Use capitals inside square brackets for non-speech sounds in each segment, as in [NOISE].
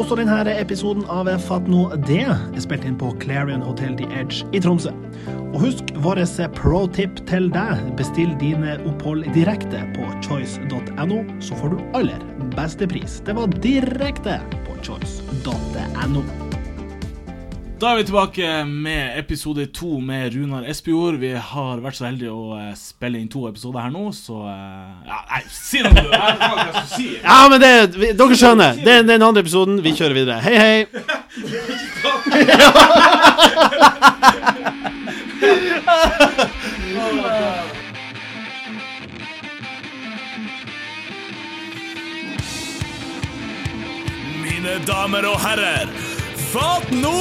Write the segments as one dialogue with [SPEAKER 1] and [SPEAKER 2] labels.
[SPEAKER 1] Også denne episoden av Fatt nå det er spilt inn på Clarion Hotel The Edge i Tromsø. Og husk våre pro tip til deg. Bestill dine opphold direkte på choice.no, så får du aller beste pris. Det var direkte på choice.no.
[SPEAKER 2] Da er vi tilbake med episode to med Runar Espejord. Vi har vært så heldige å eh, spille inn to episoder her nå, så eh, Ja, nei, si noe! du.
[SPEAKER 3] Jeg vet ikke hva jeg skal si.
[SPEAKER 4] Ja, men det, vi- dere skjønner. Det er den andre episoden. Vi kjører videre. Hei, hei.
[SPEAKER 5] Mine damer og herrer, fatt nå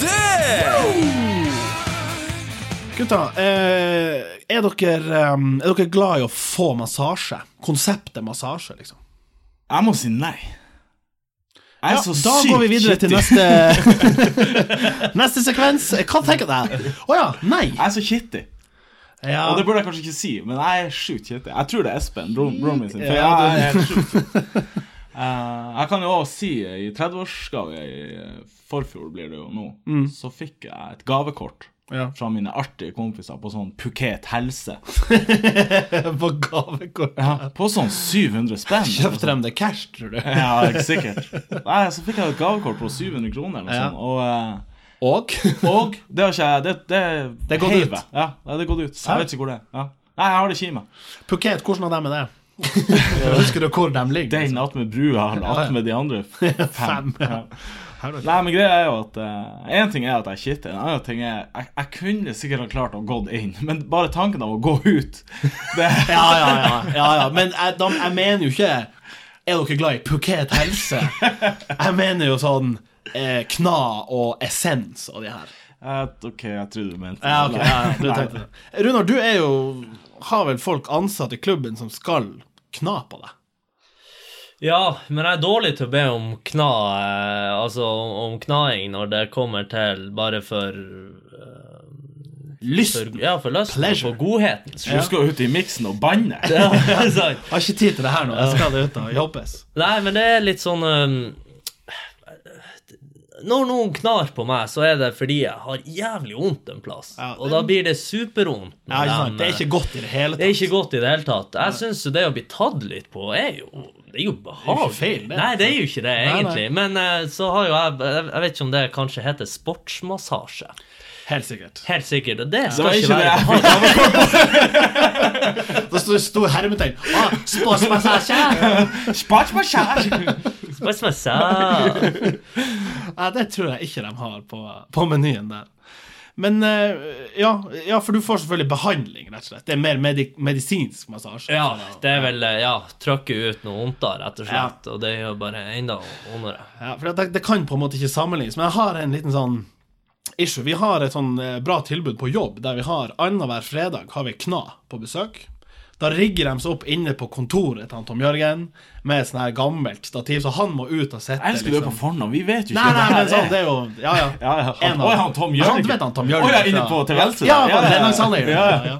[SPEAKER 5] det!
[SPEAKER 1] Gutta, eh, er, dere, eh, er dere glad i å få massasje? Konseptet massasje, liksom?
[SPEAKER 2] [LAUGHS] Jeg må si nei. Jeg er
[SPEAKER 1] Ja,
[SPEAKER 2] så
[SPEAKER 1] da
[SPEAKER 2] sykt
[SPEAKER 1] går vi videre til
[SPEAKER 2] kittig.
[SPEAKER 1] neste
[SPEAKER 2] [LAUGHS]
[SPEAKER 1] Neste sekvens. Hva tenker deg? Å ja. Nei.
[SPEAKER 2] Jeg er så kittig.
[SPEAKER 1] Ja.
[SPEAKER 2] Og det burde jeg kanskje ikke si, men jeg er sjukt kittig. Jeg tror det er Espen, bro- broren min sin. For
[SPEAKER 1] Ja,
[SPEAKER 2] jeg er helt sjukt kittig. [LAUGHS] Eh, jeg kan jo også si eh, i 30-årsgave i eh, forfjor blir det jo nå, så fikk jeg et gavekort
[SPEAKER 1] Ja.
[SPEAKER 2] fra mine artige kompiser på sånn Phuket helse.
[SPEAKER 1] På gavekort.
[SPEAKER 2] Ja, på sånn 700 spenn. eller
[SPEAKER 1] [LAUGHS]
[SPEAKER 2] noe
[SPEAKER 1] Kjøpte dem det cash, tror du?
[SPEAKER 2] Ja, ikke sikkert. Nei, så fikk jeg et gavekort på 700 kroner eller noe
[SPEAKER 1] Ja.
[SPEAKER 2] sånt, og,
[SPEAKER 1] Og?
[SPEAKER 2] eh, og det har ikke jeg Det, det,
[SPEAKER 1] Det er gått
[SPEAKER 2] heiv
[SPEAKER 1] ut.
[SPEAKER 2] jeg. Ja, det er gått ut. Jeg vet ikke hvor det er. Ja. Nei, jeg har det ikke i meg.
[SPEAKER 1] [LAUGHS] Phuket, hvordan av dem er
[SPEAKER 2] [LAUGHS]
[SPEAKER 1] det? Husker du hvor de ligger?
[SPEAKER 2] Den attmed brua eller
[SPEAKER 1] ja.
[SPEAKER 2] attmed de andre f- fem.
[SPEAKER 1] [LAUGHS] Fem, ja.
[SPEAKER 2] Ja. Nei, men greia er jo at Én ting er at jeg er kittig, en annen ting er jeg, jeg kunne sikkert ha klart å gått inn, men bare tanken av å gå ut det,
[SPEAKER 1] [LAUGHS] Ja, ja, ja. ja, ja. Men jeg, de, jeg mener jo ikke Er dere glad i Phuket helse? Jeg mener jo sånn eh, kna og essens og de her.
[SPEAKER 2] Eh, OK, jeg trodde du mente
[SPEAKER 1] Ja, ok, ja, ja, du
[SPEAKER 2] Nei.
[SPEAKER 1] tenkte det. Runar, du er jo Har vel folk ansatt i klubben som skal kna på deg?
[SPEAKER 6] Ja, men jeg er dårlig til å be om kna, eh, altså om om knaing når det kommer til bare for, for
[SPEAKER 1] Lysten.
[SPEAKER 6] Ja, for lysten og
[SPEAKER 1] Pleasure.
[SPEAKER 6] for godheten.
[SPEAKER 2] Du skal jo ut i miksen og banne.
[SPEAKER 6] [LAUGHS] Ja, sant.
[SPEAKER 1] Har ikke tid til det her nå. Jeg skal ut og jobbes.
[SPEAKER 6] Nei, men det er litt sånn um, Når noen knar på meg, så er det fordi jeg har jævlig vondt en plass.
[SPEAKER 1] Ja, det-
[SPEAKER 6] Og da blir det supervondt. når
[SPEAKER 1] Ja, ikke
[SPEAKER 6] de,
[SPEAKER 1] sant? Det er ikke godt i det hele
[SPEAKER 6] det er
[SPEAKER 1] tatt.
[SPEAKER 6] ikke godt i det hele tatt. Jeg syns jo det å bli tatt litt på er jo Det er jo behagelig.
[SPEAKER 1] feil, det.
[SPEAKER 6] Nei, det er jo ikke det,
[SPEAKER 1] nei.
[SPEAKER 6] egentlig. Men eh, så har jo jeg Jeg jeg vet ikke om det kanskje heter sportsmassasje.
[SPEAKER 1] Helt sikkert.
[SPEAKER 6] Helt sikkert. og Det
[SPEAKER 2] Det
[SPEAKER 6] skal
[SPEAKER 2] var
[SPEAKER 6] ikke
[SPEAKER 2] ikke det jeg
[SPEAKER 6] være
[SPEAKER 2] fikk gavekort
[SPEAKER 1] Det sto- sto hermetegn. Ah, [LAUGHS] sportsmassasje!
[SPEAKER 2] Spart meg kjær!
[SPEAKER 1] [LAUGHS]
[SPEAKER 6] sånn sportsmassasje.
[SPEAKER 1] Ja, det tror jeg ikke de har på, på menyen der. Men eh, ja, ja, for du får selvfølgelig behandling, rett og slett. Det er mer medi medisinsk massasje.
[SPEAKER 6] Ja, det er vel eh, Ja, trykke ut noe vondt, da, rett og
[SPEAKER 1] Ja.
[SPEAKER 6] slett. Og det gjør bare enda vondere.
[SPEAKER 1] Ja, for det, det kan på en måte ikke sammenlignes, men jeg har en liten sånn issue. Vi har et sånn eh, bra tilbud på jobb der vi har annenhver fredag har vi Kna på besøk. Da rigger de seg opp inne på kontoret til han Tom Jørgen med sånn her gammelt stativ, så han må ut og sitte liksom.
[SPEAKER 2] [LAUGHS] Jeg elsker du er liksom- på fornavn, vi vet jo ikke [LAUGHS]
[SPEAKER 1] Nei, nei,
[SPEAKER 2] hva
[SPEAKER 1] men
[SPEAKER 2] det
[SPEAKER 1] sånn,
[SPEAKER 2] er.
[SPEAKER 1] det er jo Ja, ja.
[SPEAKER 2] Ja, ja, han-
[SPEAKER 1] En av-
[SPEAKER 2] Oi, han Tom Jørgen.
[SPEAKER 1] Han, du vet han Tom Jørgen.
[SPEAKER 2] Oi, ja, inne
[SPEAKER 1] fra-
[SPEAKER 2] på til venstre
[SPEAKER 1] Ja, ja,
[SPEAKER 2] der. Ja,
[SPEAKER 1] det
[SPEAKER 2] ja,
[SPEAKER 1] er langs han der.
[SPEAKER 2] ja, ja.
[SPEAKER 1] Ja, ja.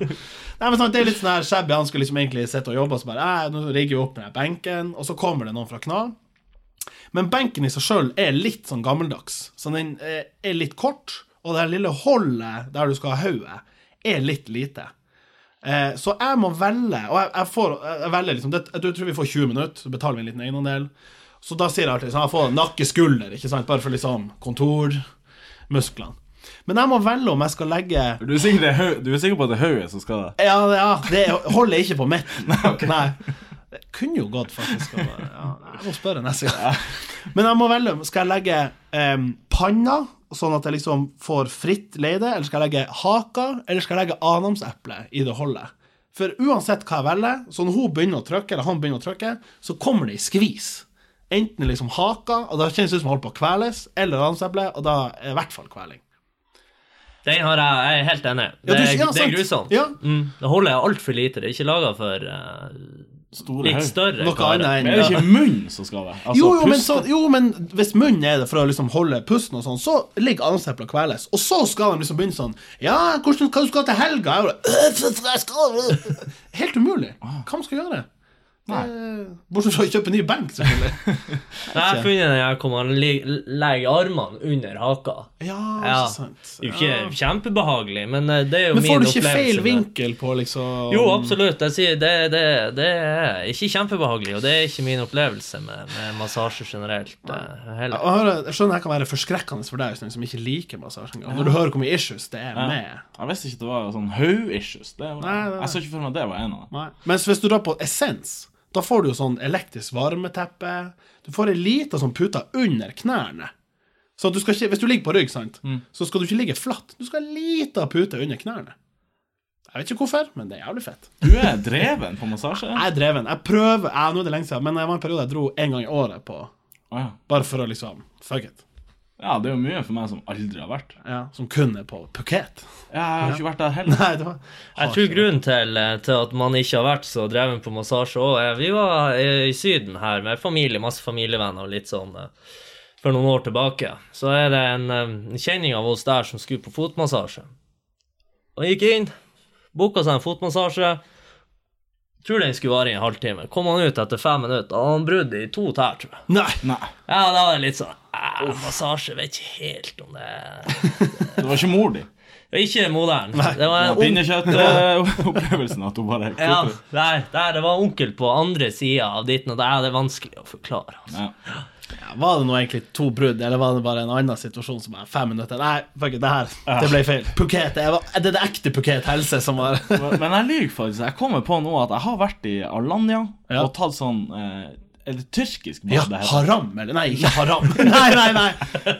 [SPEAKER 1] Nei, men sånn, Det er litt sånn her shabby. Han skulle liksom egentlig sitte og jobbe, og så bare "Æ, Nå rigger vi opp den her benken, og så kommer det noen fra Kna. Men benken i seg sjøl er litt sånn gammeldags. Så den eh, er litt kort, og det her lille hullet der du skal ha hodet, er litt lite. Eh, Så jeg må velge, og jeg, jeg, får, jeg velger liksom det, Jeg tror vi får 20 minutter, så betaler vi en liten egenandel. Så da sier jeg alltid sånn, jeg får nakke, skulder, ikke sant? bare for liksom kontormusklene. Men jeg må velge om jeg skal legge
[SPEAKER 2] Du er sikker, det er Hau- du er sikker på at det er Hauge som skal det?
[SPEAKER 1] Ja, ja det holder ikke på midten. Nei, Det kunne jo gått, faktisk. å bare- Ja, jeg må spørre neste gang. Men jeg må velge om skal jeg legge em, panna, sånn at jeg liksom får fritt leide, eller skal jeg legge haka, eller skal jeg legge anamseplet i det holdet? For uansett hva jeg velger, så når hun begynner å trykke, eller han begynner å trykke, så kommer det i skvis. Enten liksom haka, og da kjennes det ut som hun holder på å kveles, eller anamseplet, og da er det i hvert fall kveling.
[SPEAKER 6] Den har jeg, jeg er helt
[SPEAKER 1] Ja,
[SPEAKER 6] enig. Det,
[SPEAKER 1] du-
[SPEAKER 6] er-
[SPEAKER 1] ja,
[SPEAKER 6] det er
[SPEAKER 1] sant.
[SPEAKER 6] grusomt.
[SPEAKER 1] Ja.
[SPEAKER 6] Mm, det holder jeg altfor lite. Det er ikke laga for eh,
[SPEAKER 2] Store
[SPEAKER 6] litt
[SPEAKER 2] Hauge.
[SPEAKER 6] større
[SPEAKER 1] Noe annet
[SPEAKER 2] Men er det
[SPEAKER 1] enn
[SPEAKER 2] ikke munnen som skal det? Altså,
[SPEAKER 1] jo, jo, men
[SPEAKER 2] puste.
[SPEAKER 1] sånn- jo, men hvis munnen er det for å liksom holde pusten, og sånn, så ligger anamseplet og kveles. Og så skal de liksom begynne sånn Ja, hvordan, [LAUGHS] Ah. hva du skal til helga? Jeg bare, «Øh, for- for jeg skal, øh». Helt umulig. Hva man skal gjøre? Bortsett fra å kjøpe ny benk, selvfølgelig.
[SPEAKER 6] Jeg har funnet den her hvor man lig- legger armene under haka.
[SPEAKER 1] [LAUGHS] Ja,
[SPEAKER 6] Ja.
[SPEAKER 1] ikke sant.
[SPEAKER 6] Det er jo ikke kjempebehagelig, men eh, det er jo
[SPEAKER 1] Men
[SPEAKER 6] min
[SPEAKER 1] får du
[SPEAKER 6] opplevelse.
[SPEAKER 1] ikke feil
[SPEAKER 6] med-
[SPEAKER 1] vinkel på, liksom
[SPEAKER 6] Jo, absolutt. Jeg sier det, det, det er ikke kjempebehagelig, og det er ikke min opplevelse med, med massasje generelt eh,
[SPEAKER 1] Ja,
[SPEAKER 6] heller.
[SPEAKER 1] og hør, jeg skjønner jeg kan være forskrekkende for deg Øystein, som ikke liker massasje. engang. Når du hører hvor mye issues det sånn er med
[SPEAKER 2] Jeg visste ikke det var sånn haug-issues. Det var-
[SPEAKER 1] Nei, nei, nei.
[SPEAKER 2] Jeg så ikke for meg at det var en av dem.
[SPEAKER 1] Nei. Mens hvis du drar på essens, da får du jo sånn elektrisk varmeteppe. Du får ei lita sånn pute under knærne. Så at du skal ikke, hvis du ligger på rygg, sant, så skal du ikke ligge flatt. Du skal ha ei lita pute under knærne. Jeg vet ikke hvorfor, men det er jævlig fett.
[SPEAKER 2] Du er dreven på massasje?
[SPEAKER 1] Jeg er dreven. Jeg prøver ja, Nå er det lenge siden, men jeg var en periode jeg dro en gang i året på.
[SPEAKER 2] Å ja.
[SPEAKER 1] Bare for å liksom Fuck it.
[SPEAKER 2] ja, det er jo mye for meg som aldri har vært.
[SPEAKER 1] Ja, som kun er på Phuket. [LAUGHS]
[SPEAKER 2] Ja, jeg har ikke vært der heller.
[SPEAKER 1] Nei, det var
[SPEAKER 6] Jeg tror grunnen til, eh, til at man ikke har vært så dreven på massasje òg, er vi var eh, i Syden her med familie, masse familievenner og litt sånn eh, for noen år tilbake. Så er det en eh, kjenning av oss der som skulle på fotmassasje. Og gikk inn, booka seg en fotmassasje. Tror den skulle vare i en halvtime. Kom han ut etter fem minutter, og han brudd i to tær, tror jeg.
[SPEAKER 1] Nei!
[SPEAKER 2] Nei,
[SPEAKER 6] Ja, da var det litt sånn «Ah, Massasje, vet ikke helt om det er
[SPEAKER 2] det var ikke mor di.
[SPEAKER 6] Ikke moderen. Det var en onkel
[SPEAKER 2] [LAUGHS] Pinnekjøttopplevelsen at hun bare
[SPEAKER 6] ja, der, der, det var onkel på andre sida av ditten og der. Det er vanskelig å forklare. Altså.
[SPEAKER 2] Ja.
[SPEAKER 1] Ja, var det nå egentlig to brudd, eller var det bare en annen situasjon som er fem minutter? Nei, fuck it, det her, det ble feil. Phuket, det var- det er det ekte Phuket helse som var
[SPEAKER 2] Men jeg lyver faktisk. Jeg kommer på nå at jeg har vært i Alanya
[SPEAKER 1] Ja.
[SPEAKER 2] og tatt sånn eh, Er det tyrkisk bad
[SPEAKER 1] Ja,
[SPEAKER 2] det heter?
[SPEAKER 1] haram, eller? Nei, ikke
[SPEAKER 2] [LAUGHS]
[SPEAKER 1] haram. Nei, nei, nei.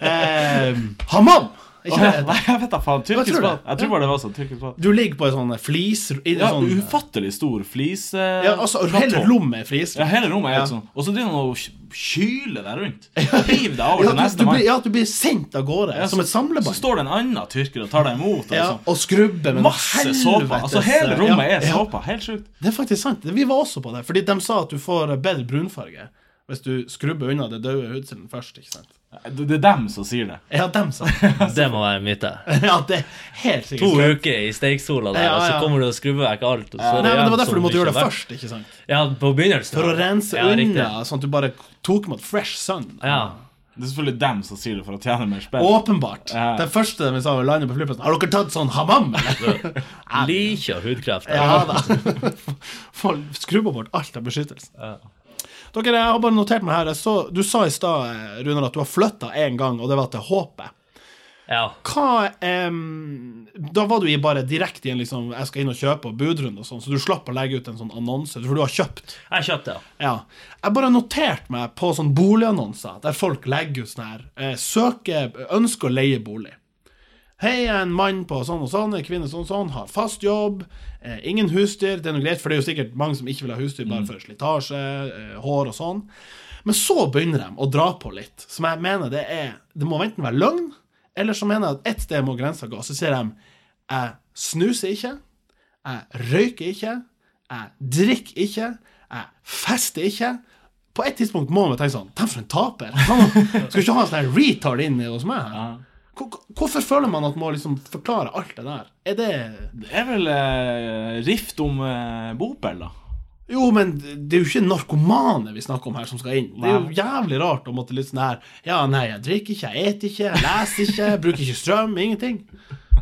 [SPEAKER 1] Eh, hamam! Ikke
[SPEAKER 2] Åh,
[SPEAKER 1] det?
[SPEAKER 2] [LAUGHS] Nei, jeg vet da faen. Tyrkisk
[SPEAKER 1] tror det.
[SPEAKER 2] bad. Jeg tror bare det var sånn. Tyrkisk bad.
[SPEAKER 1] Du ligger på en sånn flis i en
[SPEAKER 2] Ja,
[SPEAKER 1] sånn,
[SPEAKER 2] ufattelig stor flis... eh,
[SPEAKER 1] ja, altså, Hele
[SPEAKER 2] platå.
[SPEAKER 1] rommet er flis.
[SPEAKER 2] Ja, hele rommet er helt
[SPEAKER 1] Ja.
[SPEAKER 2] sånn. Og så driver han og ky- kyler deg rundt. Hiv deg over
[SPEAKER 1] Ja, du,
[SPEAKER 2] til
[SPEAKER 1] du,
[SPEAKER 2] neste
[SPEAKER 1] blir,
[SPEAKER 2] mann.
[SPEAKER 1] ja, du blir sendt av gårde
[SPEAKER 2] Ja,
[SPEAKER 1] som et
[SPEAKER 2] Så
[SPEAKER 1] samlebånd.
[SPEAKER 2] står det en annen tyrker og tar deg imot. Og
[SPEAKER 1] Ja, eh,
[SPEAKER 2] sånn.
[SPEAKER 1] og skrubbe med
[SPEAKER 2] Masse såpe. Altså, hele rommet er såpe. Helt sjukt.
[SPEAKER 1] Det er faktisk sant. Vi var også på det, fordi de sa at du får bedre brunfarge hvis du skrubber unna det døde hudcellen først. ikke sant?
[SPEAKER 2] Det det er dem som sier det.
[SPEAKER 1] Ja, dem sa
[SPEAKER 6] [LAUGHS]
[SPEAKER 1] det.
[SPEAKER 6] Det må være en myte.
[SPEAKER 1] Ja, det er helt
[SPEAKER 6] To
[SPEAKER 1] sikkert.
[SPEAKER 6] uker i steiksola der,
[SPEAKER 1] Ja,
[SPEAKER 6] og så
[SPEAKER 1] ja.
[SPEAKER 6] kommer du og skrubber vekk alt. Og så
[SPEAKER 1] Nei, men
[SPEAKER 6] er
[SPEAKER 1] Det
[SPEAKER 6] igjen
[SPEAKER 1] var derfor
[SPEAKER 6] som
[SPEAKER 1] du måtte
[SPEAKER 6] ikke
[SPEAKER 1] gjøre det
[SPEAKER 6] har vært-
[SPEAKER 1] først. ikke sant?
[SPEAKER 6] Ja, på begynnelsen.
[SPEAKER 1] For å rense
[SPEAKER 6] ja,
[SPEAKER 1] unna,
[SPEAKER 6] riktig.
[SPEAKER 1] sånn at du bare tok mot fresh sun.
[SPEAKER 6] Ja.
[SPEAKER 2] Det er selvfølgelig dem som sier det for å tjene mer spill.
[SPEAKER 1] Åpenbart.
[SPEAKER 2] Ja.
[SPEAKER 1] Det første vi sa, var landet på flyplassen Har dere tatt sånn hamam? eller?
[SPEAKER 6] [LAUGHS] Liker hudkreft.
[SPEAKER 1] Ja da. Få Skrubba bort alt av beskyttelse. Dere, jeg har bare notert meg her. jeg Så, du sa i stad, eh, Runar, at du har flytta én gang, og det var til Håpet.
[SPEAKER 6] ja.
[SPEAKER 1] Hva em, Da var du i bare direkte i en liksom, jeg skal inn og kjøpe og budrunde og sånn, så du slapp å legge ut en sånn annonse, for du har kjøpt.
[SPEAKER 6] Jeg kjøpte, ja.
[SPEAKER 1] Ja. Jeg bare noterte meg på sånn boligannonser der folk legger ut sånn her eh, Søke, ønsker å leie bolig. Hei, jeg er en mann på sånn og sånn, en kvinne sånn og sånn, har fast jobb, eh, ingen husdyr, det er noe greit, for det er jo sikkert mange som ikke vil ha husdyr bare for slitasje, eh, hår og sånn. Men så begynner de å dra på litt, som jeg mener det er Det må enten være løgn, eller så mener jeg at ett sted må grensa gå. Så sier de jeg snuser ikke, jeg røyker ikke, jeg drikker ikke, jeg fester ikke. På et tidspunkt må man tenke sånn Dem for en taper! [LAUGHS] Skal ikke ha en sånn her retard inn hos meg her? Hvor- Hvorfor føler man at man må liksom forklare alt det der? Er det
[SPEAKER 2] Det er vel eh, rift om eh, bopel, da.
[SPEAKER 1] Jo, men det er jo ikke narkomane vi snakker om her, som skal inn. Det er jo jævlig rart å måtte litt sånn her Ja, nei, jeg drikker ikke, jeg eter ikke, jeg leser ikke, jeg bruker ikke strøm, ingenting.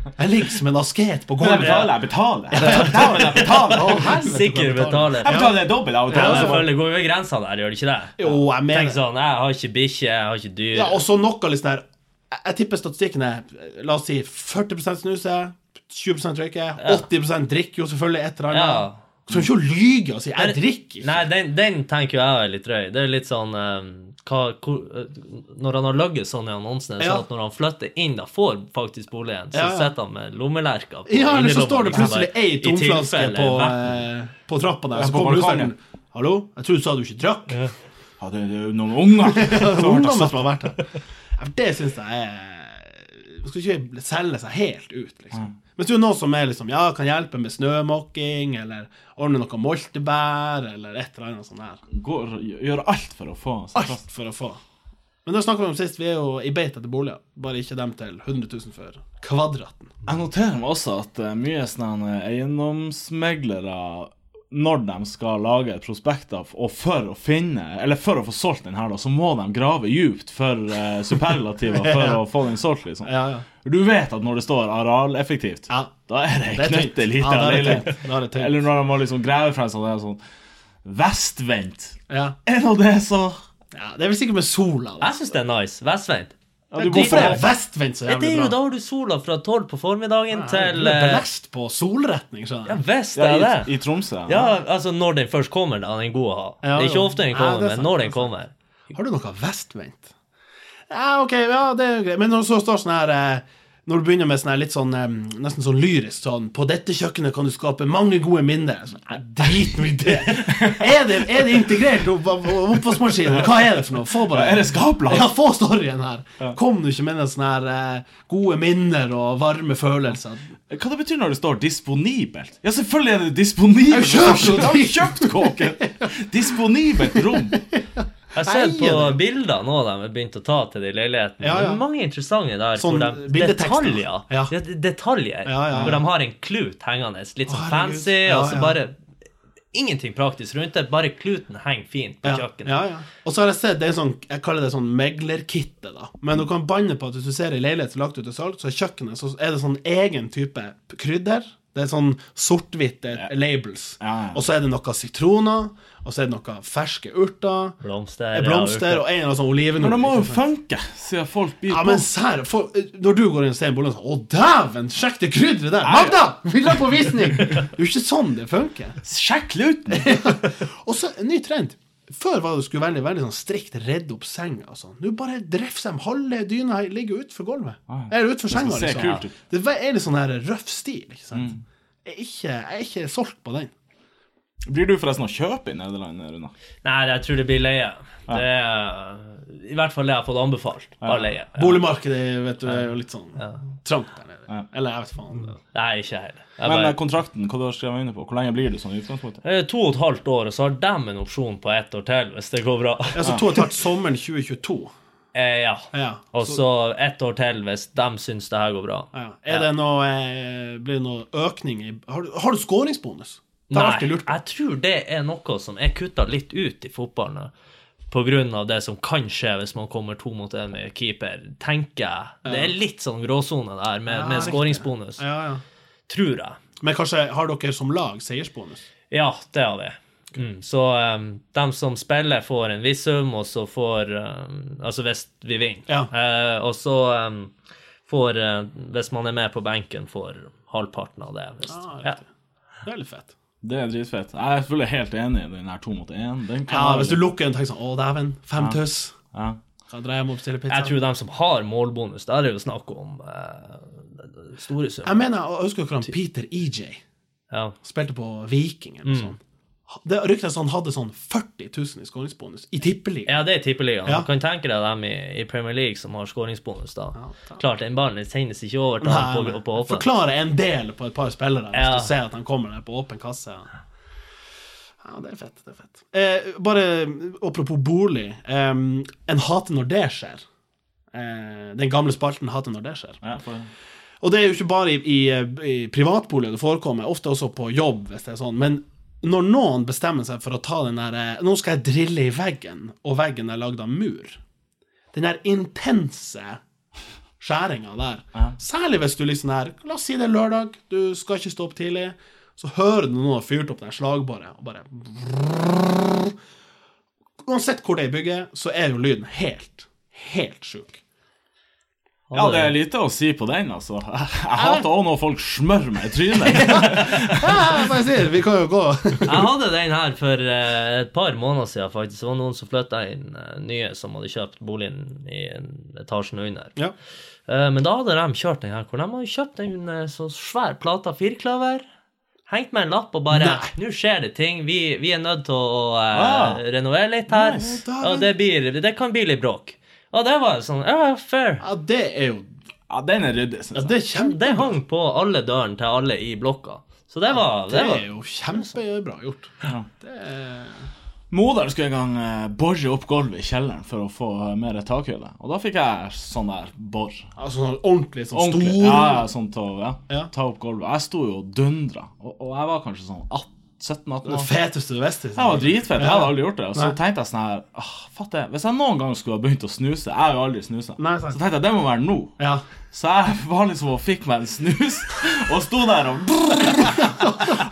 [SPEAKER 1] Jeg ligger som en asket på
[SPEAKER 2] Men jeg
[SPEAKER 1] gulvet.
[SPEAKER 2] betaler, jeg betaler. Jeg betaler, jeg betaler.
[SPEAKER 1] Å, helvete,
[SPEAKER 6] Sikker
[SPEAKER 1] hvor jeg
[SPEAKER 6] betaler.
[SPEAKER 2] Jeg betaler dobbelt av og
[SPEAKER 6] Ja,
[SPEAKER 2] til.
[SPEAKER 6] selvfølgelig går jo grensa der, gjør det ikke det?
[SPEAKER 1] Jo, jeg
[SPEAKER 6] Tenk
[SPEAKER 1] mener
[SPEAKER 6] sånn, jeg har ikke bikkje, jeg har ikke dyr.
[SPEAKER 1] Ja, og så noe litt sånn her jeg- Jeg tipper statistikken er La oss si 40 snuse, 20 røyke, 80 drikker jo selvfølgelig et eller annet.
[SPEAKER 6] Ja.
[SPEAKER 1] Så ikke å lyge og si 'jeg drikker'.
[SPEAKER 6] Nei, den, den tenker jo jeg er litt drøy. Det er litt sånn eh, hva, hvor, eh, Når han har løyet sånn i annonsen, er det
[SPEAKER 1] Ja.
[SPEAKER 6] sånn at når han flytter inn, da får faktisk boligen, så
[SPEAKER 1] Ja, ja.
[SPEAKER 6] sitter han med lommelerker på
[SPEAKER 1] Ja, eller så
[SPEAKER 6] innerlomma,
[SPEAKER 1] står det
[SPEAKER 6] liksom
[SPEAKER 1] plutselig
[SPEAKER 6] bare,
[SPEAKER 1] ei
[SPEAKER 6] i
[SPEAKER 1] tomflaske
[SPEAKER 6] tilfelle
[SPEAKER 1] på,
[SPEAKER 6] verten.
[SPEAKER 1] eh, på trappa der,
[SPEAKER 2] Ja,
[SPEAKER 1] så
[SPEAKER 2] på
[SPEAKER 1] kommer husstanden.
[SPEAKER 2] balkongen.
[SPEAKER 1] Hallo, jeg trodde du sa du ikke drakk.
[SPEAKER 2] Ja, det det er jo noen
[SPEAKER 1] [LAUGHS]
[SPEAKER 2] unger
[SPEAKER 1] Det er
[SPEAKER 2] som har
[SPEAKER 1] ungdommen
[SPEAKER 2] tatt
[SPEAKER 1] som har vært her. Ja, for Det syns jeg er Man skal ikke selge seg helt ut, liksom. Hvis du er noen som er liksom, ja, kan hjelpe med snømåking, eller ordne noe moltebær, eller et eller annet sånt her.
[SPEAKER 2] Går, gjør alt for å få seg plass.
[SPEAKER 1] Alt for å få. Men det snakka vi om sist, vi er jo i beit etter boliger. Bare ikke dem til 100 000 for kvadraten.
[SPEAKER 2] Jeg noterer meg også at eh, mye sånne eh, eiendomsmeglere når de skal lage et prospekt av, og for å finne, eller for å få solgt den her, da, så må de grave djupt for eh, superlativer
[SPEAKER 1] [LAUGHS]
[SPEAKER 2] for å få den solgt, liksom.
[SPEAKER 1] Ja, ja.
[SPEAKER 2] Du vet at når det står arealeffektivt,
[SPEAKER 1] Ja.
[SPEAKER 2] da er det
[SPEAKER 1] Det
[SPEAKER 2] ei
[SPEAKER 1] er tynt.
[SPEAKER 2] knøtte
[SPEAKER 1] Ja,
[SPEAKER 2] lita
[SPEAKER 1] da er det
[SPEAKER 2] leilighet.
[SPEAKER 1] tynt. Da er det tynt.
[SPEAKER 2] Eller når de må liksom grave frem sånn, det er sånn Vestvendt.
[SPEAKER 1] Ja.
[SPEAKER 2] Er nå det så
[SPEAKER 1] ja. Det er vel sikkert med sola, da.
[SPEAKER 6] Jeg syns det er nice. Vestvendt.
[SPEAKER 2] ja, du
[SPEAKER 1] Det
[SPEAKER 2] må
[SPEAKER 1] er
[SPEAKER 2] få
[SPEAKER 1] det vestvendt så
[SPEAKER 6] Det er jo
[SPEAKER 1] jævlig
[SPEAKER 6] da
[SPEAKER 1] bra.
[SPEAKER 6] har du sola fra tolv på formiddagen
[SPEAKER 1] Du
[SPEAKER 6] til
[SPEAKER 1] er
[SPEAKER 6] eh,
[SPEAKER 1] belest på solretning,
[SPEAKER 6] Ja
[SPEAKER 1] skjønner jeg.
[SPEAKER 6] visst
[SPEAKER 2] ja,
[SPEAKER 6] er
[SPEAKER 2] i,
[SPEAKER 6] det.
[SPEAKER 2] I Tromsø.
[SPEAKER 6] Ja, altså når den først kommer, da. Den er god å ha. Det
[SPEAKER 1] Ja,
[SPEAKER 6] er ikke
[SPEAKER 1] jo.
[SPEAKER 6] ofte den
[SPEAKER 1] Nei,
[SPEAKER 6] kommer,
[SPEAKER 1] det er sant,
[SPEAKER 6] men når
[SPEAKER 1] det er
[SPEAKER 6] den kommer.
[SPEAKER 1] Har du noe vestvendt? Ja, ok, ja, det er jo greit. Men når så står sånn her eh, Når du begynner med sånn her litt sånn eh, nesten sånn lyrisk sånn På dette kjøkkenet kan du skape mange gode minner. Sånn, eh, Drit nå i det. Er det, er det integrert opp- opp- oppvaskmaskinen? Hva er det for noe? Få bare
[SPEAKER 2] Er det skaplag?
[SPEAKER 1] Ja, få storyen her. Kom du ikke med noen sånne her eh, gode minner og varme følelser?
[SPEAKER 2] Hva det betyr når det står 'disponibelt'? Ja, selvfølgelig er det disponibelt!
[SPEAKER 1] Jeg har kjøpt-
[SPEAKER 2] Jeg har kjøpt kåken! Disponibelt rom!
[SPEAKER 6] Jeg har sett på
[SPEAKER 1] Eier
[SPEAKER 6] bilder nå de har begynt å ta til de leilighetene.
[SPEAKER 1] Ja, ja.
[SPEAKER 6] Det er mange interessante der.
[SPEAKER 1] Sånn
[SPEAKER 6] hvor de,
[SPEAKER 1] bildetekster.
[SPEAKER 6] detaljer.
[SPEAKER 1] Ja.
[SPEAKER 6] Ja, de-
[SPEAKER 1] Ja,
[SPEAKER 6] detaljer.
[SPEAKER 1] ja, ja.
[SPEAKER 6] Hvor de har en klut hengende, litt sånn
[SPEAKER 1] Å, herregud.
[SPEAKER 6] fancy,
[SPEAKER 1] Ja,
[SPEAKER 6] og så
[SPEAKER 1] ja.
[SPEAKER 6] bare Ingenting praktisk rundt det, bare kluten henger fint på
[SPEAKER 1] Ja,
[SPEAKER 6] kjøkkenet.
[SPEAKER 1] ja, ja. Og så har jeg sett det er en sånn, jeg kaller det sånn meglerkitte, da. Men du kan banne på at hvis du ser ei leilighet som er lagt ut til salg, så er kjøkkenet så er det sånn egen type krydder. Det er sånn sort-hvitte labels.
[SPEAKER 2] Ja, ja.
[SPEAKER 1] Og så er det noe sitroner, og så er det noe ferske urter,
[SPEAKER 6] Blomster,
[SPEAKER 1] eh, blomster og en eller annen sånn
[SPEAKER 2] Men det må jo
[SPEAKER 1] olivenurt.
[SPEAKER 2] funke, siden folk byr
[SPEAKER 1] Ja,
[SPEAKER 2] på.
[SPEAKER 1] men sær, for, eh, når du går inn og ser en bolig sånn Å, dæven! Sjekk det krydderet der! Magda! Vil du ha på visning? Det er jo ikke sånn det funker.
[SPEAKER 2] Sjekk luten!
[SPEAKER 1] Og så en ny trend. Før var det skulle veldig veldig sånn strikt redde opp senga. og sånn. Nå bare drefser de halve dyna her, ligger utfor gulvet. Eller utfor senga,
[SPEAKER 2] se
[SPEAKER 1] liksom.
[SPEAKER 2] kult ut.
[SPEAKER 1] Det var- er litt sånn her røff stil. ikke sant? Jeg, er ikke, jeg er ikke solgt på den.
[SPEAKER 2] Blir du forresten å kjøpe i Nederland, Runa?
[SPEAKER 6] Nei, jeg tror det blir leie. Det er, I hvert fall det jeg har fått anbefalt. Bare leie. Ja.
[SPEAKER 1] Boligmarkedet vet du, er jo litt sånn trangt der nede. Eller jeg vet faen.
[SPEAKER 6] Nei, ikke heller. Jeg
[SPEAKER 2] Men
[SPEAKER 6] bare-
[SPEAKER 2] eh, kontrakten, hva du har skrevet under på? Hvor lenge blir det sånn i utgangspunktet?
[SPEAKER 6] Eh, To og et halvt år, og så har de en opsjon på ett år til, hvis det går bra.
[SPEAKER 1] Altså to og et halvt sommeren 2022.
[SPEAKER 6] Eh, ja.
[SPEAKER 1] Ja.
[SPEAKER 6] Og så ett år til, hvis de syns det her går bra.
[SPEAKER 1] ja. Er det noe, eh, blir det noe økning i Har du, har du skåringsbonus? Det har jeg
[SPEAKER 6] Nei,
[SPEAKER 1] alltid lurt på.
[SPEAKER 6] jeg tror det er noe som er kutta litt ut i fotballen. da. På grunn av det som kan skje hvis man kommer to mot én med keeper, tenker jeg. Det er litt sånn gråsone der, med, med
[SPEAKER 1] riktig.
[SPEAKER 6] skåringsbonus.
[SPEAKER 1] Ja, ja.
[SPEAKER 6] Tror jeg.
[SPEAKER 1] Men kanskje har dere som lag seiersbonus?
[SPEAKER 6] Ja, det har vi. Mm, så um, de som spiller, får en viss sum, og så får um, Altså hvis vi vinner.
[SPEAKER 1] Ja.
[SPEAKER 6] Eh, og så um, får eh, Hvis man er med på benken, får halvparten av det. Hvis,
[SPEAKER 1] Ah,
[SPEAKER 6] ja.
[SPEAKER 1] riktig. Det er litt fett.
[SPEAKER 2] Det er dritfett. Jeg er selvfølgelig helt enig i den her to mot én. Den kan
[SPEAKER 1] Ja,
[SPEAKER 2] være
[SPEAKER 1] hvis du
[SPEAKER 2] litt-
[SPEAKER 1] lukker en tenker sånn Å, dæven, fem tøss.
[SPEAKER 2] ja.
[SPEAKER 1] Kan dra hjem og bestille pizza.
[SPEAKER 6] Jeg tror de som har målbonus, der er det jo snakk om eh, store summer.
[SPEAKER 1] Jeg mener, jeg husker dere han Peter EJ
[SPEAKER 6] Ja.
[SPEAKER 1] spilte på Viking eller
[SPEAKER 6] Mm.
[SPEAKER 1] noe sånt. Det ryktes han hadde sånn 40 000 i skåringsbonus i tippeligaen.
[SPEAKER 6] ja, det er tippeligaen.
[SPEAKER 1] Ja.
[SPEAKER 6] Du kan tenke deg dem i, i Premier League som har skåringsbonus, da.
[SPEAKER 1] Ja, takk.
[SPEAKER 6] Klart, den ballen sendes ikke over til
[SPEAKER 1] Nei,
[SPEAKER 6] han på,
[SPEAKER 1] nei.
[SPEAKER 6] på åpen.
[SPEAKER 1] Forklare en del på et par spillere hvis
[SPEAKER 6] Ja.
[SPEAKER 1] du ser at han kommer der på åpen kasse. Ja, det er fett. det er fett. Eh, bare apropos bolig. Eh, en hater når det skjer. Eh, den gamle spalten hater når det skjer.
[SPEAKER 2] ja, for...
[SPEAKER 1] Og det er jo ikke bare i, i, i privatboliger det forekommer, ofte også på jobb, hvis det er sånn. Men når noen bestemmer seg for å ta den der eh, Nå skal jeg drille i veggen, og veggen er lagd av mur. Den der intense skjæringa der. Særlig hvis du liksom er La oss si det er lørdag, du skal ikke stå opp tidlig. Så hører du noen har fyrt opp den slagbordet, og bare Uansett hvor det er i bygget, så er jo lyden helt, helt sjuk.
[SPEAKER 2] ja, det er lite å si på den, altså. [LAUGHS] Jeg hater òg når folk smører meg i
[SPEAKER 1] [LAUGHS]
[SPEAKER 2] trynet.
[SPEAKER 1] Ja, hva jeg sier, vi kan jo gå
[SPEAKER 6] Jeg hadde den her for eh, et par måneder siden, faktisk. Det var noen som flytta inn eh, nye som hadde kjøpt boligen i en- etasjen under.
[SPEAKER 1] Ja.
[SPEAKER 6] Eh, men da hadde de kjørt den her, hvor de hadde kjøpt en eh, så svær plate av firkløver. Hengt med en lapp og bare
[SPEAKER 1] Nei.
[SPEAKER 6] 'Nå skjer det ting. Vi, vi er nødt til å
[SPEAKER 2] Ah.
[SPEAKER 6] eh, renovere litt her.'
[SPEAKER 1] Nice.
[SPEAKER 6] Og det, blir, det kan bli litt bråk. Og det var sånn Ja, fair.
[SPEAKER 1] Ja, det er jo
[SPEAKER 2] Ja, den er ryddig, syns
[SPEAKER 1] Ja,
[SPEAKER 2] jeg.
[SPEAKER 1] det er kjempe...
[SPEAKER 6] Det hang på alle dørene til alle i blokka. Så det var,
[SPEAKER 1] Det
[SPEAKER 6] det var
[SPEAKER 1] er jo kjempebra gjort.
[SPEAKER 2] Moderen skulle en gang eh, borre opp gulvet i kjelleren for å få eh, mer takhøyde. Og da fikk jeg sånn der borr.
[SPEAKER 1] Altså sånn ordentlig sånn
[SPEAKER 2] Ordentlig.
[SPEAKER 1] stor
[SPEAKER 2] Ja, ja, sånn til å ja,
[SPEAKER 1] Ja.
[SPEAKER 2] ta opp gulvet. Jeg sto jo og dundra, og, og jeg var kanskje sånn 18 17-18
[SPEAKER 1] Det
[SPEAKER 2] år.
[SPEAKER 1] feteste du visste.
[SPEAKER 2] Jeg var dritfett. Jeg hadde aldri gjort det. Og så
[SPEAKER 1] Nei.
[SPEAKER 2] tenkte jeg sånn her ah, Fatt det. Hvis jeg noen gang skulle ha begynt å snuse Jeg har jo aldri snusa.
[SPEAKER 1] Nei,
[SPEAKER 2] Så
[SPEAKER 1] sant.
[SPEAKER 2] tenkte jeg det må være nå.
[SPEAKER 1] Ja.
[SPEAKER 2] Så jeg [LAUGHS] var liksom og fikk meg en snus og sto der og [LAUGHS]